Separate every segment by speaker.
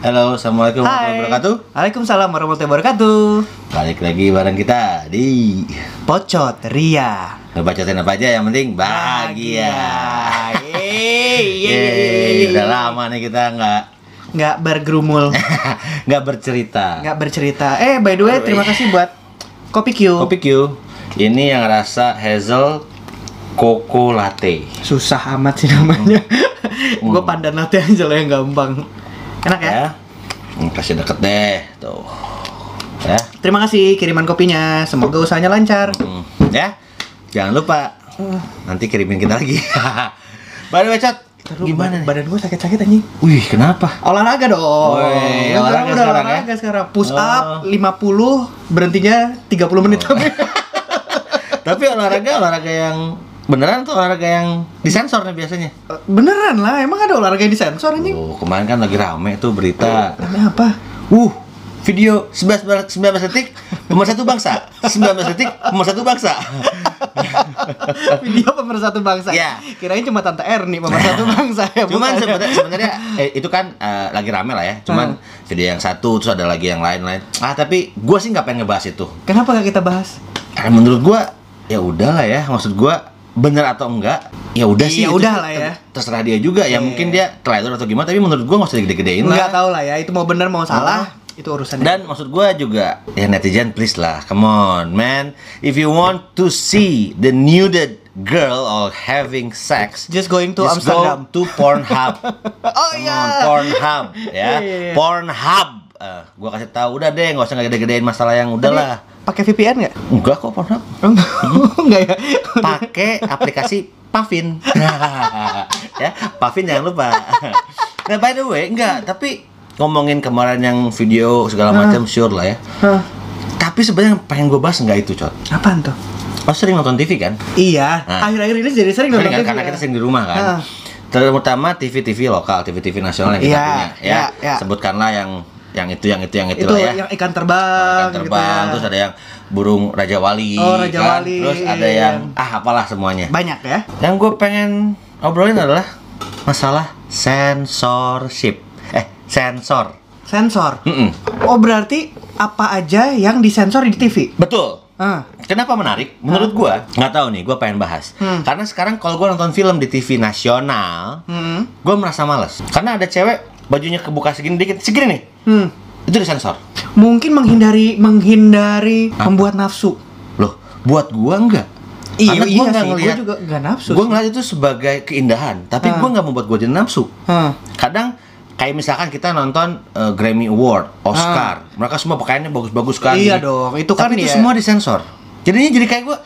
Speaker 1: Halo, assalamualaikum warahmatullahi wabarakatuh.
Speaker 2: Waalaikumsalam warahmatullahi wabarakatuh.
Speaker 1: Balik lagi bareng kita di
Speaker 2: Pocot Ria.
Speaker 1: ngebacotin apa aja yang penting bahagia.
Speaker 2: Yeay, yeay, yeay,
Speaker 1: Yeay,
Speaker 2: yeay.
Speaker 1: udah lama nih kita nggak
Speaker 2: Nggak bergerumul,
Speaker 1: nggak bercerita.
Speaker 2: nggak bercerita. Eh, by the way, terima kasih buat Kopi Q.
Speaker 1: iya. Kopi Q. Ini yang rasa hazel coco latte.
Speaker 2: Susah amat sih namanya. Gue pandan latte aja lah yang gampang. Enak ya?
Speaker 1: Oh. Ya. Hmm, Kasih deket deh, tuh. Ya.
Speaker 2: Terima kasih kiriman kopinya. Semoga usahanya lancar.
Speaker 1: Hmm, Ya. Jangan lupa
Speaker 2: Eh.
Speaker 1: nanti kirimin kita lagi. By the way, Cat, gimana nih?
Speaker 2: Badan gue sakit-sakit anjing.
Speaker 1: Wih, kenapa?
Speaker 2: Olahraga dong.
Speaker 1: Woi,
Speaker 2: Lu
Speaker 1: olahraga
Speaker 2: udah
Speaker 1: sekarang ya?
Speaker 2: olahraga sekarang. Push
Speaker 1: Oh.
Speaker 2: up 50, berhentinya 30 menit tapi.
Speaker 1: Tapi olahraga olahraga yang beneran tuh olahraga yang disensor nih biasanya.
Speaker 2: Beneran lah, emang ada olahraga yang disensor anjing?
Speaker 1: Oh, kemarin kan lagi rame tuh berita.
Speaker 2: Kenapa?
Speaker 1: Uh, video 11 bar- 19 detik pemersatu bangsa. 19 detik pemersatu bangsa.
Speaker 2: Video pemersatu bangsa.
Speaker 1: Iya.
Speaker 2: Kirain cuma Tante Erni pemersatu bangsa ya.
Speaker 1: Cuman
Speaker 2: bukan ya?
Speaker 1: sebenarnya sebenarnya eh, itu kan eh, lagi rame lah ya. Cuman
Speaker 2: Ah.
Speaker 1: video yang satu terus ada lagi yang lain-lain. Ah, tapi gua sih nggak pengen ngebahas itu.
Speaker 2: Kenapa gak kita bahas?
Speaker 1: Karena menurut gua ya udah lah ya. Maksud gua bener atau enggak ya udah sih
Speaker 2: Ya
Speaker 1: itu
Speaker 2: udah
Speaker 1: sih
Speaker 2: lah ya. iya.
Speaker 1: ter- terserah dia juga ya mungkin dia trailer atau gimana tapi menurut gua nggak usah digede-gedein lah
Speaker 2: Enggak tahu lah ya, itu mau bener mau salah, itu urusan
Speaker 1: Dan maksud gua juga ya netizen please lah, come on man, if you want to see the nuded girl or having sex,
Speaker 2: Just going to
Speaker 1: just go
Speaker 2: Amsterdam.
Speaker 1: to Pornhub.
Speaker 2: Oh
Speaker 1: Come on,
Speaker 2: iya.
Speaker 1: Pornhub ya,
Speaker 2: Iya, iya, iya.
Speaker 1: Pornhub. Eh, gua kasih tahu udah deh, nggak usah gede-gedein masalah yang
Speaker 2: Tapi
Speaker 1: udahlah.
Speaker 2: Pakai VPN enggak?
Speaker 1: Enggak kok Pornhub.
Speaker 2: Enggak ya.
Speaker 1: Pakai aplikasi Pavin. ya, Pavin jangan lupa. nah, by the way, enggak, tapi ngomongin kemarin yang video
Speaker 2: Nah.
Speaker 1: segala macam sure lah ya.
Speaker 2: Hah,
Speaker 1: Tapi sebenarnya yang pengen gue bahas nggak itu, Cot.
Speaker 2: apaan tuh?
Speaker 1: Lo sering nonton TV kan?
Speaker 2: Iya,
Speaker 1: Nah.
Speaker 2: akhir-akhir ini jadi
Speaker 1: Sering
Speaker 2: sering nonton
Speaker 1: kan?
Speaker 2: TV
Speaker 1: Karena
Speaker 2: ya.
Speaker 1: kita sering di rumah kan?
Speaker 2: Ah.
Speaker 1: Terutama TV-TV lokal, TV-TV nasional yang kita
Speaker 2: Iya,
Speaker 1: punya. Ya,
Speaker 2: iya, iya.
Speaker 1: sebutkanlah yang yang itu, yang itu, yang itu,
Speaker 2: Itu
Speaker 1: lah ya.
Speaker 2: yang ikan terbang,
Speaker 1: Yang terbang,
Speaker 2: gitu
Speaker 1: terus
Speaker 2: ya.
Speaker 1: ada yang burung Raja Wali, kan?
Speaker 2: Oh, Raja Wali.
Speaker 1: terus ada yang ah apalah semuanya.
Speaker 2: Banyak ya.
Speaker 1: Yang gue pengen obrolin adalah masalah censorship. Eh, sensor.
Speaker 2: Sensor.
Speaker 1: Mm-mm.
Speaker 2: Oh, berarti apa aja yang disensor di TV?
Speaker 1: Betul.
Speaker 2: Ah.
Speaker 1: Kenapa menarik? Menurut gua nggak tahu nih, gua pengen bahas.
Speaker 2: Hmm.
Speaker 1: Karena sekarang kalau gua nonton film di TV nasional,
Speaker 2: Hmm.
Speaker 1: gua merasa males. Karena ada cewek bajunya kebuka segini dikit, segini nih.
Speaker 2: Hmm.
Speaker 1: Itu disensor.
Speaker 2: Mungkin menghindari menghindari membuat nafsu.
Speaker 1: Loh, buat gua enggak. Karena
Speaker 2: Iya,
Speaker 1: gua nggak ngelihat.
Speaker 2: Gue juga nggak nafsu.
Speaker 1: Gua
Speaker 2: sih.
Speaker 1: ngelihat itu sebagai keindahan, tapi
Speaker 2: Ah.
Speaker 1: gua nggak membuat gua jadi nafsu.
Speaker 2: Hah.
Speaker 1: Kadang kayak misalkan kita nonton eh, Grammy Award, Oscar, mereka semua pakaiannya bagus-bagus kan.
Speaker 2: Hmm. Iya
Speaker 1: gini.
Speaker 2: dong, itu kan
Speaker 1: tapi itu
Speaker 2: ya.
Speaker 1: semua disensor. Jadinya jadi kayak gua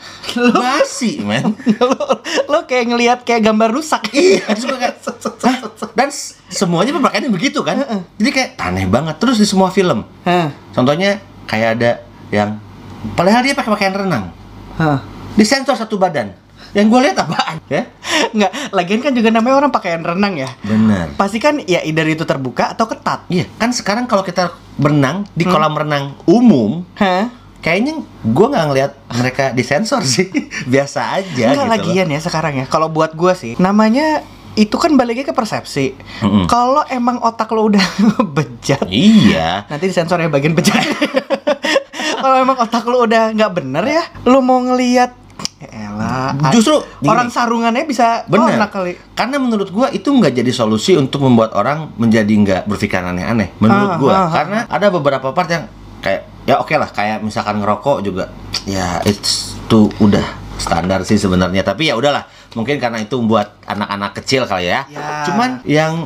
Speaker 1: basi, men.
Speaker 2: lo, lo kayak ngelihat kayak gambar rusak.
Speaker 1: Iya, terus gue kayak, "Hah?" dan s- semuanya pemakaiannya begitu kan. Jadi kayak aneh banget terus di semua film.
Speaker 2: Hah.
Speaker 1: Contohnya kayak ada yang padahal dia pakai pakaian renang,
Speaker 2: Hah.
Speaker 1: disensor satu badan. Yang gue lihat apaan ya?
Speaker 2: Nggak, lagian kan juga namanya orang pakaian renang ya.
Speaker 1: Bener.
Speaker 2: Pasti kan ya either itu terbuka atau ketat.
Speaker 1: Iya, kan sekarang kalau kita berenang
Speaker 2: Hmm.
Speaker 1: di kolam renang umum,
Speaker 2: Hah?
Speaker 1: kayaknya gue nggak ngelihat mereka disensor sih, biasa aja
Speaker 2: Nggak
Speaker 1: gitu. loh.
Speaker 2: lagian ya sekarang ya. Kalau buat gue sih, namanya itu kan baliknya ke persepsi.
Speaker 1: Mm-mm.
Speaker 2: Kalau emang otak lo udah bejat,
Speaker 1: Iya.
Speaker 2: Nanti disensor ya bagian bejat. Kalau emang otak lu udah nggak bener ya, lu mau ngelihat ya elah. a-
Speaker 1: Justru gini.
Speaker 2: orang sarungannya bisa
Speaker 1: Bener.
Speaker 2: konak Oh, kali.
Speaker 1: Karena menurut gua itu nggak jadi solusi untuk membuat orang menjadi nggak berpikiran aneh-aneh. Menurut
Speaker 2: Ah,
Speaker 1: gua,
Speaker 2: ah, ah.
Speaker 1: karena ada beberapa part yang kayak ya oke lah, kayak misalkan ngerokok juga. Ya it's itu udah standar sih sebenarnya. Tapi ya udahlah, mungkin karena itu buat anak-anak kecil kali ya.
Speaker 2: Ya.
Speaker 1: Cuman yang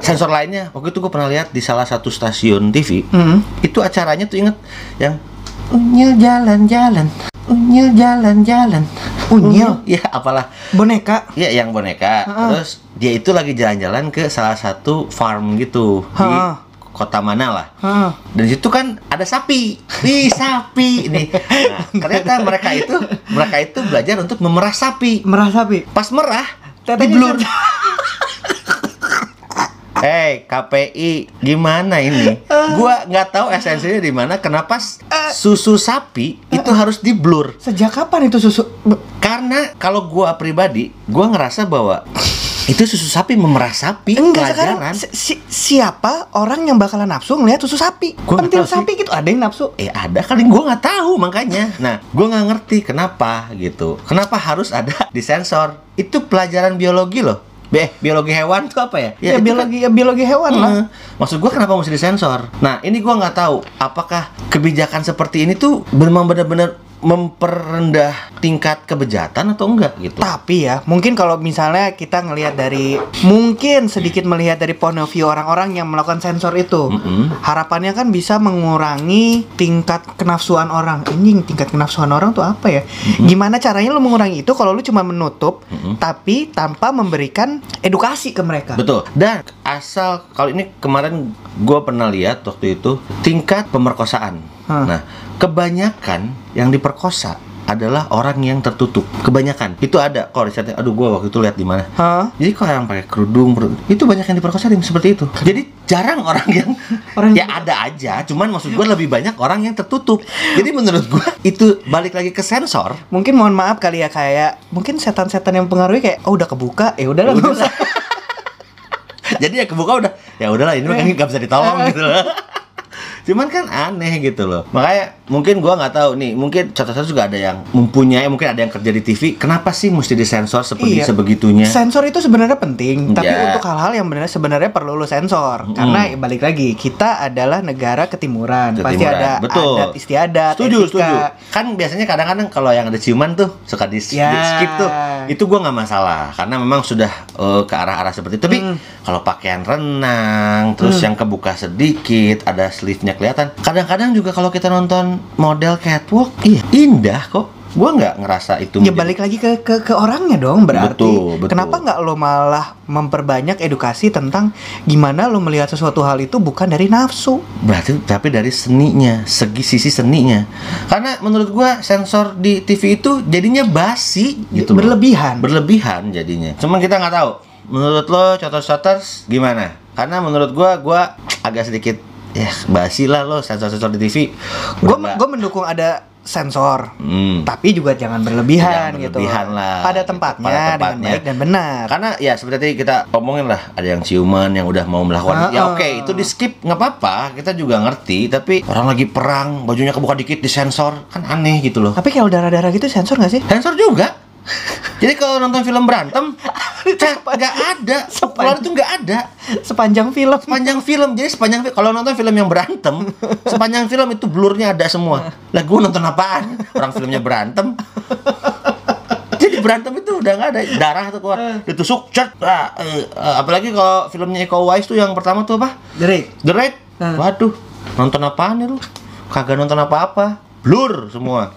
Speaker 1: sensor lainnya waktu itu gua pernah lihat di salah satu stasiun TV.
Speaker 2: Hmm.
Speaker 1: Itu acaranya tuh inget yang unyil jalan-jalan, unyil jalan-jalan,
Speaker 2: Unyil?
Speaker 1: ya apalah.
Speaker 2: Boneka.
Speaker 1: Iya, yang boneka. Terus dia itu lagi jalan-jalan ke salah satu farm gitu di
Speaker 2: Ha.
Speaker 1: kota mana lah.
Speaker 2: Heeh.
Speaker 1: Dan di situ kan ada sapi. Nih, sapi nih. Nah, ternyata mereka itu mereka itu belajar untuk memerah sapi.
Speaker 2: Merasa pi.
Speaker 1: Pas merah,
Speaker 2: Tetenya
Speaker 1: di blur.
Speaker 2: jatuh.
Speaker 1: Hey KPI gimana ini? Gua nggak tahu esensinya di mana. Kenapa s- susu sapi itu harus di blur?
Speaker 2: Sejak kapan itu susu? Be-
Speaker 1: Karena kalau gua pribadi, gua ngerasa bahwa Itu susu sapi memerah sapi
Speaker 2: Enggak sekarang
Speaker 1: pelajaran.
Speaker 2: si- si- siapa orang yang bakalan nafsu ngelihat susu sapi?
Speaker 1: Gua nggak
Speaker 2: Pentil
Speaker 1: tahu sih.
Speaker 2: sapi gitu ada yang nafsu.
Speaker 1: Eh ada kali gue nggak tahu makanya. Nah gue nggak ngerti kenapa gitu. Kenapa harus ada di sensor? Itu pelajaran biologi loh. Be, biologi hewan tuh apa ya?
Speaker 2: Ya,
Speaker 1: itu kan-
Speaker 2: biologi ya biologi hewan lah.
Speaker 1: Heeh. Maksud gua kenapa mesti disensor? Nah ini gua nggak tahu apakah kebijakan seperti ini tuh memang benar-benar memperendah tingkat kebejatan atau enggak gitu?
Speaker 2: Tapi ya, mungkin kalau misalnya kita ngelihat dari mungkin sedikit melihat dari point of view orang-orang yang melakukan sensor itu.
Speaker 1: Mm-mm.
Speaker 2: Harapannya kan bisa mengurangi tingkat kenafsuan orang. Anjing, tingkat kenafsuan orang tuh apa ya? Gimana caranya lu mengurangi itu kalau lu cuma menutup tapi tanpa memberikan edukasi ke mereka?
Speaker 1: Betul. Dan asal kalau ini kemarin gua pernah lihat waktu itu tingkat pemerkosaan.
Speaker 2: Hah.
Speaker 1: Nah kebanyakan yang diperkosa adalah orang yang tertutup. Kebanyakan itu ada kok risetnya. Aduh gua waktu itu lihat di mana.
Speaker 2: Hah?
Speaker 1: Jadi kalau yang pakai kerudung perut- itu banyak yang diperkosa Dim, seperti itu. Jadi jarang orang yang
Speaker 2: Orang
Speaker 1: ya
Speaker 2: yang-
Speaker 1: ada aja, cuman maksud gue lebih banyak orang yang tertutup. Jadi menurut gue itu balik lagi ke sensor.
Speaker 2: Mungkin mohon maaf kali ya kayak mungkin setan-setan yang pengaruhi kayak oh udah kebuka, ya udahlah nggak usah.
Speaker 1: Jadi ya kebuka udah ya udahlah ini mah kan nggak bisa ditolong gitu loh. Cuman kan aneh gitu loh. Makanya mungkin gua nggak tahu nih, mungkin contoh-contoh juga ada yang mempunyai, mungkin ada yang kerja di TV, kenapa sih mesti disensor seperti
Speaker 2: Iya.
Speaker 1: sebegitunya?
Speaker 2: Sensor itu sebenarnya penting, tapi
Speaker 1: Ya.
Speaker 2: untuk hal-hal yang benar sebenarnya perlu lu sensor. Karena ya balik lagi, kita adalah negara ketimuran, pasti
Speaker 1: Ketimuran,
Speaker 2: ada
Speaker 1: eh, betul.
Speaker 2: adat istiadat,
Speaker 1: setuju
Speaker 2: etika.
Speaker 1: setuju kan biasanya kadang-kadang kalau yang ada ciuman tuh suka di, di
Speaker 2: Ya.
Speaker 1: skip tuh itu gua nggak masalah karena memang sudah eh, ke arah-arah seperti itu tapi
Speaker 2: Hmm.
Speaker 1: kalau pakaian renang terus yang kebuka sedikit ada sleeve-nya kelihatan kadang-kadang juga kalau kita nonton model catwalk iya indah kok gua nggak ngerasa itu
Speaker 2: Ya
Speaker 1: menjadi-
Speaker 2: balik lagi ke, ke ke orangnya dong berarti.
Speaker 1: Betul, betul.
Speaker 2: Kenapa nggak lo malah memperbanyak edukasi tentang gimana lo melihat sesuatu hal itu bukan dari nafsu?
Speaker 1: berarti tapi dari seninya segi sisi seninya karena menurut gua sensor di TV itu jadinya basi gitu loh.
Speaker 2: berlebihan.
Speaker 1: berlebihan jadinya cuman kita nggak tahu menurut lo cotor shotters gimana karena menurut gua gua agak sedikit ya basi lah lo sensor sensor di TV Udah
Speaker 2: Gue
Speaker 1: nggak-
Speaker 2: gue mendukung ada sensor.
Speaker 1: Hmm.
Speaker 2: tapi juga jangan
Speaker 1: Jangan
Speaker 2: berlebihan, gitu.
Speaker 1: berlebihan lah,
Speaker 2: Pada
Speaker 1: gitu.
Speaker 2: tempatnya,
Speaker 1: Pada
Speaker 2: dengan
Speaker 1: tempatnya.
Speaker 2: baik dan benar.
Speaker 1: karena ya seperti tadi kita omongin lah ada yang ciuman yang udah mau melakukan ya
Speaker 2: Ah,
Speaker 1: oke
Speaker 2: ah.
Speaker 1: itu di skip nggak apa-apa kita juga ngerti tapi orang lagi perang bajunya kebuka dikit disensor kan aneh gitu loh
Speaker 2: Tapi kalau darah-darah gitu sensor nggak sih?
Speaker 1: sensor juga jadi kalau nonton film berantem cak, nggak ada pukulan itu nggak ada
Speaker 2: Sepanjang film.
Speaker 1: sepanjang film jadi sepanjang fi- kalau nonton film yang berantem sepanjang film itu blurnya ada semua lah gue nonton apaan orang filmnya berantem jadi berantem itu udah nggak ada darah tuh keluar ditusuk cat ah, eh, eh, apalagi kalau filmnya Iko Uwais tuh yang pertama tuh apa
Speaker 2: Derek.
Speaker 1: The Raid
Speaker 2: Ah.
Speaker 1: waduh nonton apaan ya lu kagak nonton apa-apa blur semua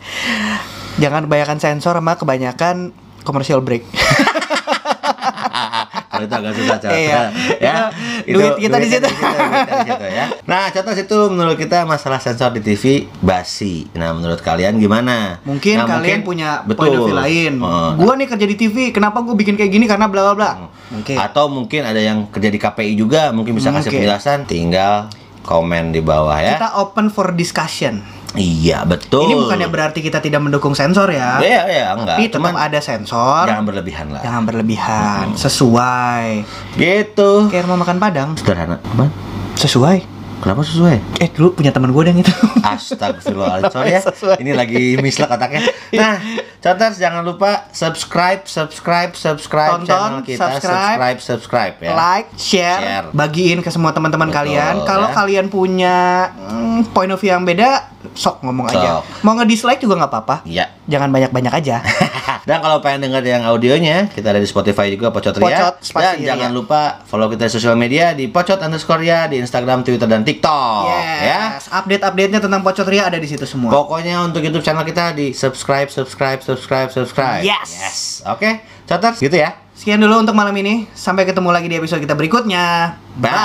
Speaker 2: Jangan kebanyakan sensor sama kebanyakan commercial break.
Speaker 1: Kalau itu agak susah Cot.
Speaker 2: Iya.
Speaker 1: ya.
Speaker 2: Itu duit kita di situ.
Speaker 1: ada duit ada di situ, ya. Nah, contoh situ menurut kita masalah sensor di TV basi. Nah, menurut kalian gimana?
Speaker 2: Mungkin
Speaker 1: Nah, mungkin-
Speaker 2: kalian punya
Speaker 1: betul.
Speaker 2: point of view lain.
Speaker 1: Oh,
Speaker 2: Gua nih kerja di TV, kenapa gue bikin kayak gini karena bla bla bla. Mungkin.
Speaker 1: Atau mungkin ada yang kerja di KPI juga, mungkin bisa kasih
Speaker 2: Mungkin.
Speaker 1: penjelasan, tinggal komen di bawah ya.
Speaker 2: Kita open for discussion.
Speaker 1: Iya, betul.
Speaker 2: Ini bukannya berarti kita tidak mendukung sensor ya.
Speaker 1: Iya, iya, enggak.
Speaker 2: Tapi tetap Ya.
Speaker 1: Cuman
Speaker 2: ada sensor.
Speaker 1: jangan berlebihan lah.
Speaker 2: Jangan berlebihan, sesuai.
Speaker 1: Gitu.
Speaker 2: Kayak rumah makan Padang,
Speaker 1: Sederhana, Cuman,
Speaker 2: sesuai.
Speaker 1: Kenapa sesuai?
Speaker 2: Eh dulu punya teman gue yang itu.
Speaker 1: Astagfirullahaladzim Sorry ya
Speaker 2: Sesuai. Iya.
Speaker 1: Ini lagi mislak otaknya Nah Coters jangan lupa Subscribe Subscribe Subscribe channel
Speaker 2: Tonton,
Speaker 1: kita
Speaker 2: subscribe.
Speaker 1: Subscribe Subscribe ya
Speaker 2: Like, share,
Speaker 1: Share.
Speaker 2: bagiin ke semua teman-teman
Speaker 1: Betul,
Speaker 2: kalian. Kalau
Speaker 1: ya.
Speaker 2: kalian punya mm, point of view yang beda, sok ngomong aja.
Speaker 1: Sok.
Speaker 2: Mau nge-dislike juga nggak apa-apa.
Speaker 1: Iya
Speaker 2: Jangan banyak-banyak aja.
Speaker 1: Dan kalau pengen denger yang audionya Kita ada di Spotify juga Pocot Ria
Speaker 2: Pocot,
Speaker 1: Dan
Speaker 2: spasi Ria.
Speaker 1: jangan lupa Follow kita di sosial media Di Pocot underscore Ria Di Instagram, Twitter, dan TikTok Ya
Speaker 2: Yes, update-update-nya tentang Pocot Ria ada di situ semua.
Speaker 1: Pokoknya untuk YouTube channel kita di subscribe, subscribe, subscribe, subscribe.
Speaker 2: Yes.
Speaker 1: Oke, Coters gitu ya.
Speaker 2: Sekian dulu untuk malam ini. Sampai ketemu lagi di episode kita berikutnya. Bye.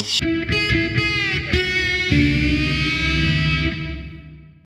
Speaker 1: Bye.